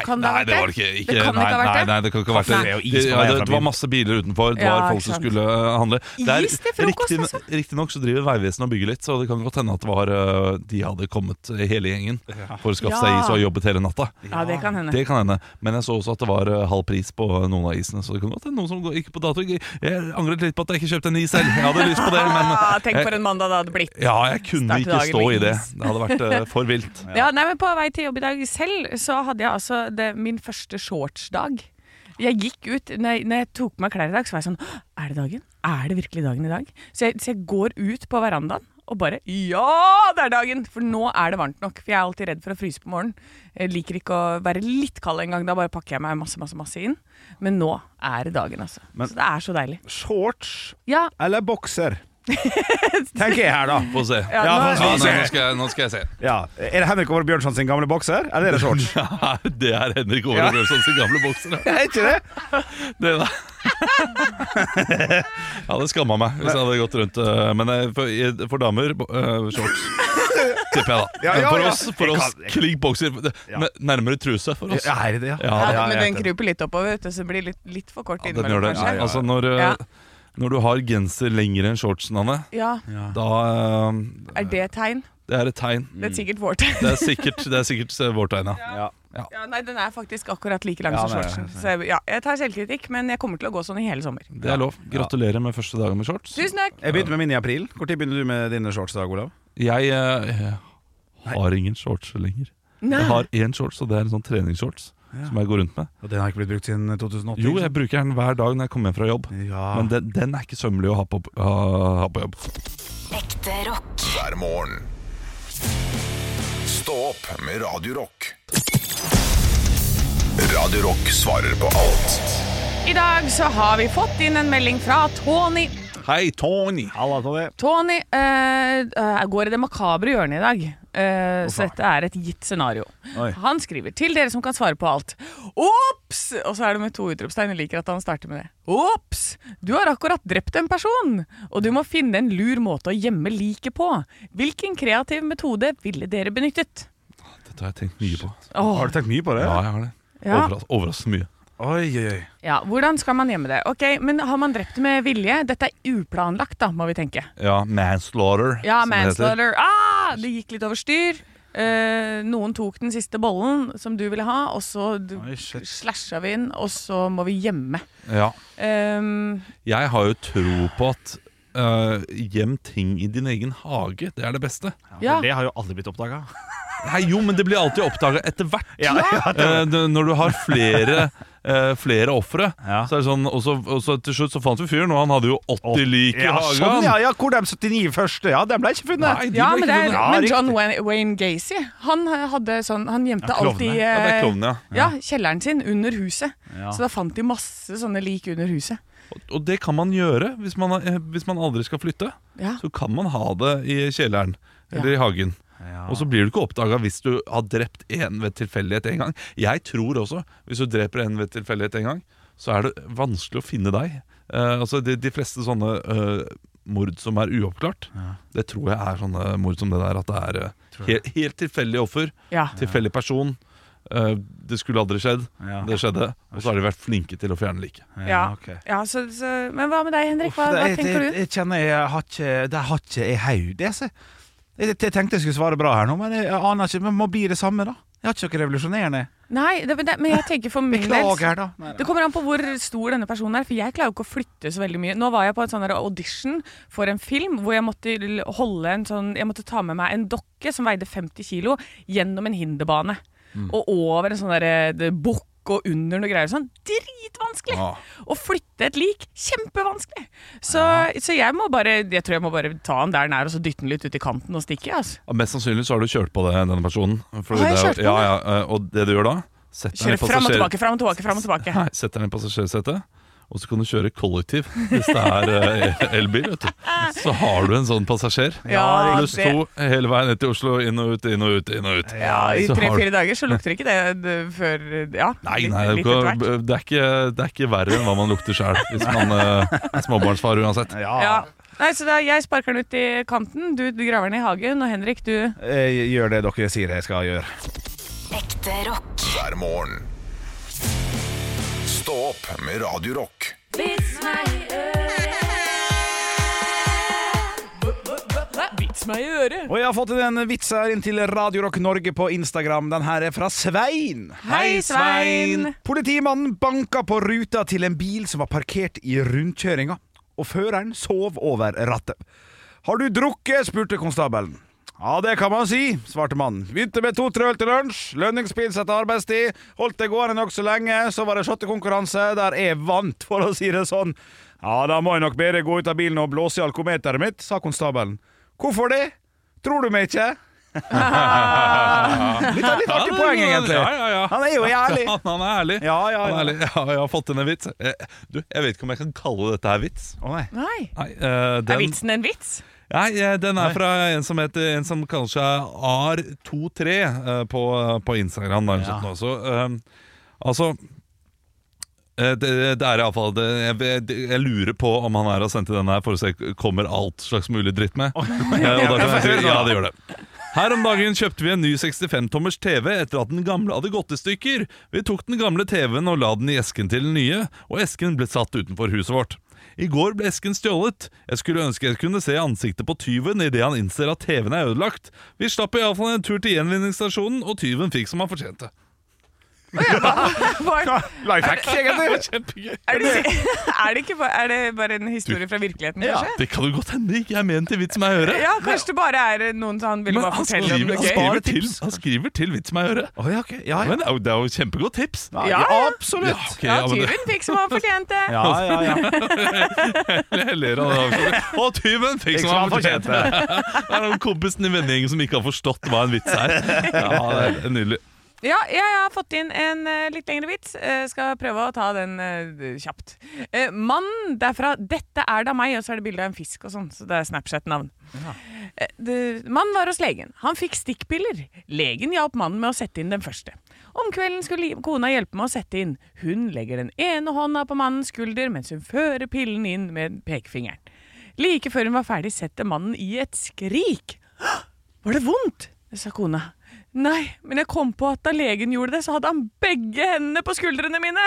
C: Kan det ha
B: nei,
C: vært
B: det var
C: det?
B: ikke, ikke
C: Det kan
B: nei,
C: ikke ha vært
B: nei,
C: det?
B: nei, det kan ikke ha vært
D: Kaffe
B: det.
D: er jo is på
B: ja,
D: vei
B: det,
D: fra
B: det var
D: byen.
B: masse biler utenfor, det
C: Ja,
B: var folk
C: ikke
B: som
C: sant.
B: skulle uh, handle.
C: Is til frokost, altså.
B: Riktignok så driver Vegvesenet og bygger litt, så det kan godt hende at det var, uh, de hadde kommet uh, hele gjengen for å skaffe seg
C: Ja.
B: is og har jobbet hele natta.
C: Ja, det kan hende.
B: Det kan hende. Men jeg så også at det var eh, halv pris på noen av isene. Så det kan godt hende noen som går- gikk på dato. Jeg angret litt på at jeg ikke kjøpte en is selv. Jeg hadde lyst på det, men
C: Ah, tenk
B: eh,
C: for en mandag det hadde blitt.
B: ja, jeg kunne
C: Starte
B: ikke
C: dagen
B: stå
C: med
B: i det.
C: is.
B: Det hadde vært eh, for vilt.
C: Ja. nei, men På vei til jobb i dag selv så hadde jeg altså det, min første shortsdag. Jeg gikk ut, når jeg, når jeg tok på meg klær i dag, så var jeg sånn «Åh, Er det dagen? Er det virkelig dagen i dag? Så jeg, så jeg går ut på verandaen og bare Ja, det er dagen! For nå er det varmt nok. For jeg er alltid redd for å fryse på morgenen. Jeg liker ikke å være litt kald engang. Da bare pakker jeg meg masse, masse, masse inn. Men nå er det dagen, altså.
D: Men-
C: så det er så deilig.
D: Shorts
C: Ja,
D: eller bokser? Tenker jeg her, da.
B: Få se.
C: Ja,
B: Ja,
C: nå-
B: nei, nå, skal jeg, nå skal jeg se.
D: Ja. Er det Henrik Over Bjørnson sin gamle bokser, eller er det shorts?
B: Det er Henrik Over og Bjørnson sin gamle bokser. ja.
D: Er ikke det?
B: Det da. Jeg hadde skamma meg hvis jeg hadde gått rundt eh, Men eh, for, i- for damer bo- eh, shorts. Tipper jeg, da.
D: Ja, ja,
B: For
D: ja.
B: oss, for
D: Jeg
B: oss
D: kan-
B: klink bokser. n- Nærmere truse for oss.
D: Ja, er det det, ja?
B: Ja,
C: ja, men
D: jeg
C: den
D: vet det.
C: kryper litt oppover, vet du, så det blir litt, litt for kort
B: Ja, den gjør
C: innimellom,
B: det.
C: kanskje. Ja,
B: Altså, når, eh,
C: Ja.
B: når du har genser lenger enn shortsen, Anne, da eh,
C: Er det et tegn?
B: Det er et tegn.
C: Det
D: Mm.
C: er sikkert vårt tegn.
B: Det er sikkert, det er sikkert eh, vårt tegn, ja.
D: Ja.
C: Ja, nei, den er faktisk akkurat like lang
D: Ja,
C: som
D: den er
C: shortsen. Så jeg, ja, jeg tar selvkritikk, men jeg kommer til å gå sånn i hele sommer.
B: Det er lov. Gratulerer med første dagen med shorts.
C: Tusen takk!
D: Jeg begynte med min i april. Når begynner du med dine shorts, Dag Olav?
B: Jeg eh, har ingen shorts lenger.
C: Nei.
B: Jeg har én shorts, og det er en sånn treningsshorts som jeg går rundt med.
D: Og den har ikke blitt brukt siden 2008.
B: Jo, jeg bruker den hver dag når jeg kommer hjem fra jobb,
D: ja.
B: men den, den er ikke sømmelig å ha på, ha- ha på jobb.
E: Ekte rock.
A: hver morgen. Stå opp med Radio Rock. Radio Rock svarer på alt
C: I dag så har vi fått inn en melding fra Tony.
B: Hei, Tony!
D: Halla, Tony.
C: Tony eh, eh, går i det makabre hjørnet i dag. Eh, så dette er et gitt scenario.
D: Oi.
C: Han skriver til dere som kan svare på alt. Ops! Og så er det med to utropstegn. Jeg liker at han starter med det. Ops! Du har akkurat drept en person, og du må finne en lur måte å gjemme liket på. Hvilken kreativ metode ville dere benyttet?
B: Dette har jeg tenkt mye på.
C: Åh,
D: Har du tenkt mye på det?
B: Ja, jeg har det.
C: Ja.
B: Overras- Overraskende mye.
D: Oi, oi, oi.
C: ja, Hvordan skal man gjemme det? Ok, Men har man drept med vilje? Dette er uplanlagt, da, må vi tenke.
B: Ja, manslaughter.
C: Ja,
B: som det heter.
C: manslaughter. Ah, det gikk litt over styr. Eh, noen tok den siste bollen som du ville ha, og så d-
D: Oi, shit.
C: slasha vi inn, og så må vi gjemme.
B: Ja.
C: Um,
B: Jeg har jo tro på at øh, gjem ting i din egen hage. Det er det beste.
C: ja.
D: Det har jo aldri blitt oppdaga.
B: Nei, jo, men det blir alltid oppdaga etter hvert. Eh, d- når du har flere eh, Flere ofre.
D: Ja.
B: Så er det sånn, og, så, og så til slutt så fant vi fyren, og han hadde jo 80 lik i
D: Ja,
B: hagen.
D: sånn, ja, ja, hvor de 79 første? Ja, de ble ikke funnet.
B: Nei, de
C: ja
B: ble
C: men, det
B: ikke
C: er,
B: funnet.
C: men John Wayne, Wayne Gacy, han hadde sånn Han gjemte
D: klovne.
C: alltid
B: Ja, det
C: eh,
B: er klovnen, ja.
C: ja, kjelleren sin under huset.
D: Ja.
C: Så da fant de masse sånne lik under huset.
B: Og det kan man gjøre hvis man, har- eh, hvis man aldri skal flytte.
C: Ja.
B: Så kan man ha det i kjelleren eller i hagen. Og så blir du ikke oppdaga hvis du har drept en ved tilfeldighet en gang. Jeg tror også, hvis du dreper en ved tilfeldighet en gang, så er det vanskelig å finne deg. Eh, altså de, de fleste sånne eh, mord som er uoppklart, det tror jeg er sånne mord som det der. At det er eh, helt, helt tilfeldig offer,
C: Ja.
B: tilfeldig person. eh, det skulle aldri skjedd.
D: Ja.
B: Det skjedde. Og så har de vært flinke til å fjerne liket.
C: Ja,
D: ok.
C: ja så, så, Men hva med deg, Henrik? Hva,
D: Uff, det-
C: hva
D: jeg-
C: tenker
D: jeg-
C: du?
D: Jeg kjenner jeg har ikke Det har ikke jeg haug, det. altså. Jeg, jeg tenkte jeg skulle svare bra her nå, men jeg aner ikke. Men må bli det samme, da. Jeg har ikke noe revolusjonerende.
C: Nei, det, men det, men jeg tenker for min del
D: Beklager, da. Nei,
C: Det kommer an på hvor stor denne personen er, for jeg klarer jo ikke å flytte så veldig mye. Nå var jeg på en sånn der audition for en film hvor jeg måtte, l- holde en sånn, jeg måtte ta med meg en dokke som veide 50 kilo gjennom en hinderbane.
D: Mm.
C: Og over en sånn der eh, det- bukk og under noe greier og sånn. Dritvanskelig!
D: Ah.
C: Å flytte et lik, kjempevanskelig! Så, så jeg må bare Jeg tror jeg må bare ta den der den er og så dytte den litt ut i kanten og stikke. Altså.
B: Ja, Mest sannsynlig så har du kjørt på det, denne personen. Fordi
C: Har jeg
B: det er-
C: kjørt på
B: ja,
C: det?
B: ja, eh, Og det du gjør da setter deg i
C: Kjøre fram og
B: passasjer-
C: tilbake, fram og tilbake, fram og tilbake.
B: Nei, setter den i passasjersetet Og så kan du kjøre kollektiv hvis det er eh, elbil. vet du Så har du en sånn passasjer.
C: Ja,
B: Pluss
C: det-
B: to hele veien ned til Oslo, inn og ut, inn og ut. inn og ut
C: Ja, I
B: Så har du-
C: tre-fire dager så lukter ikke det d- før Ja,
B: Nei,
C: litt,
B: nei det, er
C: litt
B: jo
C: etter hvert.
B: ikke, det, er ikke, det er ikke verre enn hva man lukter sjøl hvis man eh, er småbarnsfar uansett.
C: Ja. Nei, så da, jeg sparker den ut i kanten, du, du graver den i hagen, og Henrik, du
D: Jeg Eh, gjør det dere sier jeg skal gjøre.
E: Ekte rock.
A: hver morgen. Stå opp med Radio Rock.
C: Vits meg i øret!
D: Og jeg har fått inn en vits her inn til Radio Rock Norge på Instagram. Den her er fra Svein.
C: Hei, Svein.
D: Politimannen banka på ruta til en bil som var parkert i rundkjøringa, og føreren sov over rattet. Har du drukket? spurte konstabelen. Ja, det kan man si, svarte mannen. Begynte med to-tre øl til lunsj, lønningspils etter arbeidstid, holdt det gående nokså lenge, så var det shottekonkurranse, der jeg vant, for å si det sånn. Ja, da må jeg nok bedre gå ut av bilen og blåse i alkometeret mitt, sa konstabelen. Hvorfor det? Tror du meg ikke? litt, litt artig poeng, egentlig.
B: Ja, ja, ja.
D: Han er jo ærlig.
B: Han, han er ærlig.
D: Ja, ja,
B: Han er
D: ja.
B: ærlig. Ja, jeg har fått inn en vits. Eh, Du, jeg vet ikke om jeg kan kalle dette her vits.
D: Å nei.
C: Nei.
B: Nei, eh,
C: Er
B: den,
C: vitsen en vits?
B: nei, eh, den er fra en som heter En som kanskje er AR23 eh, på, på Instagram. Da, eller sånt noe. Så, eh, altså eh, det, det er iallfall jeg, jeg, jeg lurer på om han her har sendt inn den her for å se kommer alt slags mulig dritt med. Eh, og da kan jeg si, ja, det gjør det. Her om dagen kjøpte vi en ny 65-tommers TV etter at den gamle hadde gått i stykker. Vi tok den gamle TV-en og la den i esken til den nye, og esken ble satt utenfor huset vårt. I går ble esken stjålet. Jeg skulle ønske jeg kunne se ansiktet på tyven idet han innser at TV-en er ødelagt. Vi slapp iallfall en tur til gjenvinningsstasjonen, og tyven fikk som han fortjente.
C: Hva-
D: Lifehack, egentlig.
B: Kjempegøy.
C: Er det, er, det ikke, ba- er det bare en historie fra virkeligheten,
D: Ja.
C: kanskje?
B: Det kan jo godt hende ikke er ment til vits meg i øret.
C: Ja, kanskje det bare er noen som han ville
B: Men
C: bare
B: han
C: fortelle om
B: skriver,
C: noe
B: han,
C: gøy.
B: skriver til, han skriver til vits meg i øret.
D: Å, ja, ok. ja, ja.
B: Men det er jo- det er jo kjempegodt tips.
D: Ja,
C: Ja,
D: ja,
C: ja.
D: absolutt.
B: Ja, ok,
C: Ja,
B: ja, men det-
C: tyven fikk som han fortjente.
D: Ja, ja, ja.
B: Jeg ler av det. avslutningen. Og tyven fikk som Liksom han fortjente! Det er den kompisen i vennegjengen som ikke har forstått hva en vits er. Ja, det er Nydelig.
C: Ja, jeg har fått inn en eh, litt lengre vits. Eh, skal prøve å ta den eh, kjapt. Eh, mannen derfra 'Dette er da meg', og så er det bilde av en fisk og sånn. Så det er Snapchat-navn. Eh, det- mannen var hos legen. Han fikk stikkpiller. Legen hjalp mannen med å sette inn den første. Om kvelden skulle kona hjelpe med å sette inn. Hun legger den ene hånda på mannens skulder mens hun fører pillen inn med pekefingeren. Like før hun var ferdig, setter mannen i et skrik. Var det vondt? sa kona. Nei, men jeg kom på at da legen gjorde det, så hadde han begge hendene på skuldrene mine.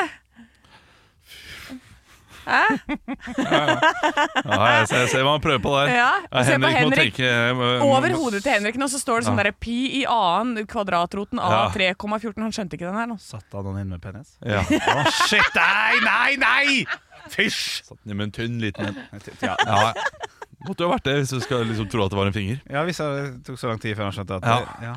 B: Ja, jeg ser, jeg ser hva han prøver på der.
C: Ja, og se på
B: Henrik må
C: Henrik.
B: tenke eh,
C: Over
B: må-
C: hodet til Henrik nå så står det sånn derre pi i annen kvadratroten
B: Ja.
C: av 3,14. Han skjønte ikke den her altså. nå.
D: Satte han den inn med penis?
B: Ja.
D: Å, shit! Nei, nei, nei! Fysj!
B: Satt den i med en tynn liten en.
D: Ja,
B: Ja, måtte jo ha vært det hvis du skal liksom tro at det var en finger.
D: ja hvis det tok så lang tid før han skjønte at
B: Ja.
D: Ja.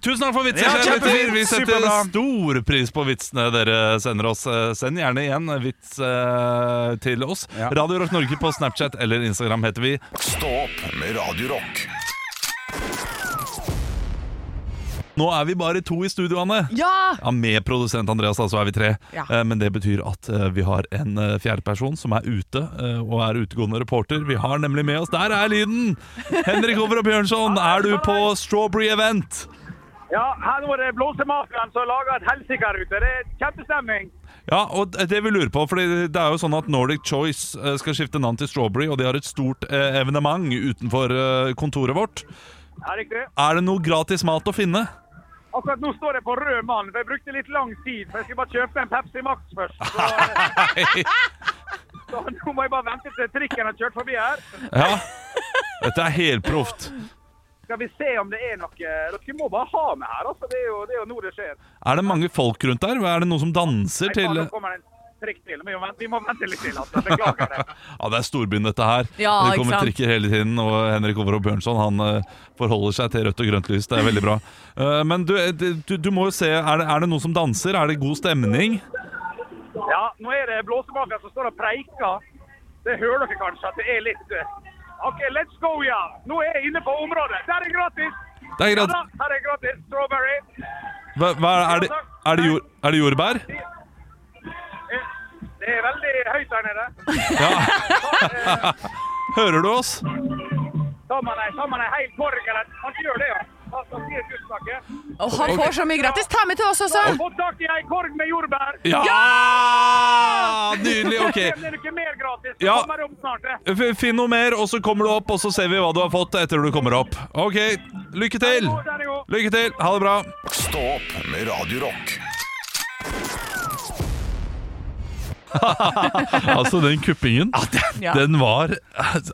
B: Tusen takk for vitsen!
D: Ja,
B: kjære lytter.
D: kjempefint.
B: Vi setter
D: Superbra.
B: stor pris på vitsene dere sender oss. Eh, Send gjerne igjen vits eh, til oss.
D: Ja.
B: Radio Rock Norge på Snapchat eller Instagram heter vi.
A: Stå opp med Radio Rock.
B: Nå er vi bare to i studio, Anne.
C: Ja!
B: Ja, Med produsent Andreas, da, så er vi tre.
C: Ja.
B: Eh, Men det betyr at eh, vi har en eh, fjerde person som er ute, eh, og er utegående reporter. Vi har nemlig med oss Der er lyden! Henrik Over og Bjørnson, er du på Strawberry Event?
F: Ja, her nå er det blåsemafiaen som lager et helsike her ute. Det er kjempestemning.
B: Ja, og det vi lurer på, for det er jo sånn at Nordic Choice eh, skal skifte navn til Strawberry, og de har et stort eh, evenement utenfor eh, kontoret vårt.
F: Er det ikke det?
B: Er det noe gratis mat å finne?
F: Akkurat nå står jeg på rød mann, for jeg brukte litt lang tid. For jeg skulle bare kjøpe en Pepsi Max først. Så, så nå må jeg bare vente til trikken har kjørt forbi her.
B: Ja. Dette er helproft.
F: Skal vi se om det er noe Dere må bare ha meg her, altså. Det er jo, det er jo nå det skjer.
B: Er det mange folk rundt der? Er det noen som danser
F: Nei, faen,
B: til
F: nå kommer det en trikk til. Vi må vente, vi må vente litt til, altså. Beklager det.
B: Ja, det er storbyen dette her.
C: Ja,
B: det kommer
C: ikke sant?
B: trikker hele tiden, og Henrik Over og Bjørnson han eh, forholder seg til rødt og grønt lys. Det er veldig bra. Eh, men du, eh, du, du må jo se, er det, er det noen som danser? Er det god stemning?
F: Ja, nå er det blåsemafiaen som står og preiker. Det hører dere kanskje at det er litt eh, OK, let's go, ja. Nå er jeg inne på området. Der er gratis!
B: Det er greit.
F: Ja da, her er gratis strawberry.
B: Hva, hva, er, det, er, det jord, er det jordbær?
F: Eh, Det Det er veldig høyt der nede.
B: Hører du oss?
F: Tar man ei- tar man ei heil korg eller Man gjør det, ja. Da skal vi si tusen takk. ja.
C: Og han får så mye gratis. Ta med til oss også!
F: Få tak i ei korg med jordbær.
B: Ja! Nydelig.
F: Det
B: Ok.
F: blir ikke mer gratis. Det
B: Ja.
F: kommer opp snart, eh. det.
B: F- Finn noe mer, og så kommer du opp, og så ser vi hva du har fått etter du kommer opp. Ok, lykke til!
F: Å, der er jo.
B: Lykke til, ha det bra.
A: Stå opp med Radio Rock.
B: Altså, den kuppingen,
C: Ja.
B: den var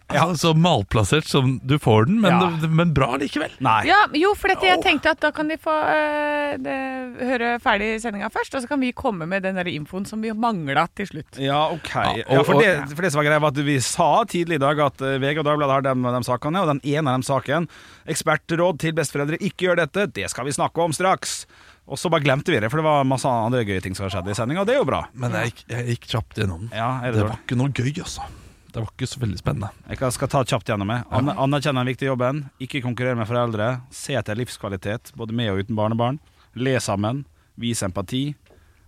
B: altså, så malplassert som du får den, men,
D: Ja.
B: det- men bra likevel.
D: Nei.
C: Ja, jo, for dette, jeg tenkte at da kan de få eh, det, høre ferdig sendinga først, og så kan vi komme med den der infoen som vi mangla til slutt.
D: Ja, ok.
B: Ja,
D: Ja,
B: og-
D: for,
B: og-
D: det, for det som var greia, var at vi sa tidlig i dag at eh, VG og Dagbladet har dem og dem sakene, og den ene av dem saken, ekspertråd til besteforeldre, ikke gjør dette, det skal vi snakke om straks. Og så bare glemte vi det, for det var masse andre gøye ting som har skjedd i sendinga, og det er jo bra.
B: Men jeg, gikk- jeg gikk kjapt gjennom den.
D: Ja, er
B: Det
D: det
B: var
D: dårlig?
B: ikke noe gøy, altså. Det var ikke så veldig spennende.
D: Jeg kan- skal ta kjapt gjennom meg. An anerkjenne den viktige jobben, ikke konkurrere med foreldre, se etter livskvalitet, både med og uten barnebarn, le sammen, vise empati,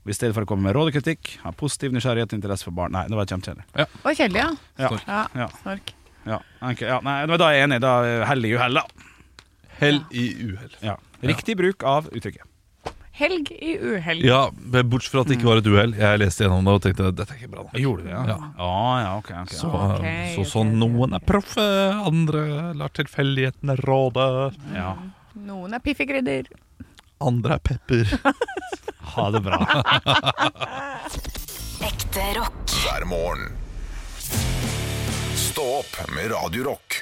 D: og i stedet for å komme med råd og kritikk, ha positiv nysgjerrighet og interesse for barn. Nei, det var kjempekjedelig.
C: Det var kjedelig, ja.
D: Ja,
B: Snork.
C: ja.
D: ja,
C: Snork.
D: ja, ok, ja. Nei, men da er jeg enig. Da er hell i uhell, da.
B: Hell i uhell.
D: Ja. Riktig bruk av uttrykket.
C: Helg i uhelg.
B: Ja, men bortsett fra at det ikke var et uhell. Jeg leste gjennom det og tenkte dette er ikke bra nok.
D: Gjorde du det, ja?
B: Ja.
D: Ja, ja, ok. ok.
B: Så,
C: Ok,
B: så
C: ok,
B: sånn
C: ok.
B: noen er proffe, andre lar tilfeldighetene råde,
D: Ja.
C: Noen er piffikrydder.
B: andre er pepper.
D: Ha det bra.
E: Ekte rock.
A: hver morgen. Stå opp med Radio Rock.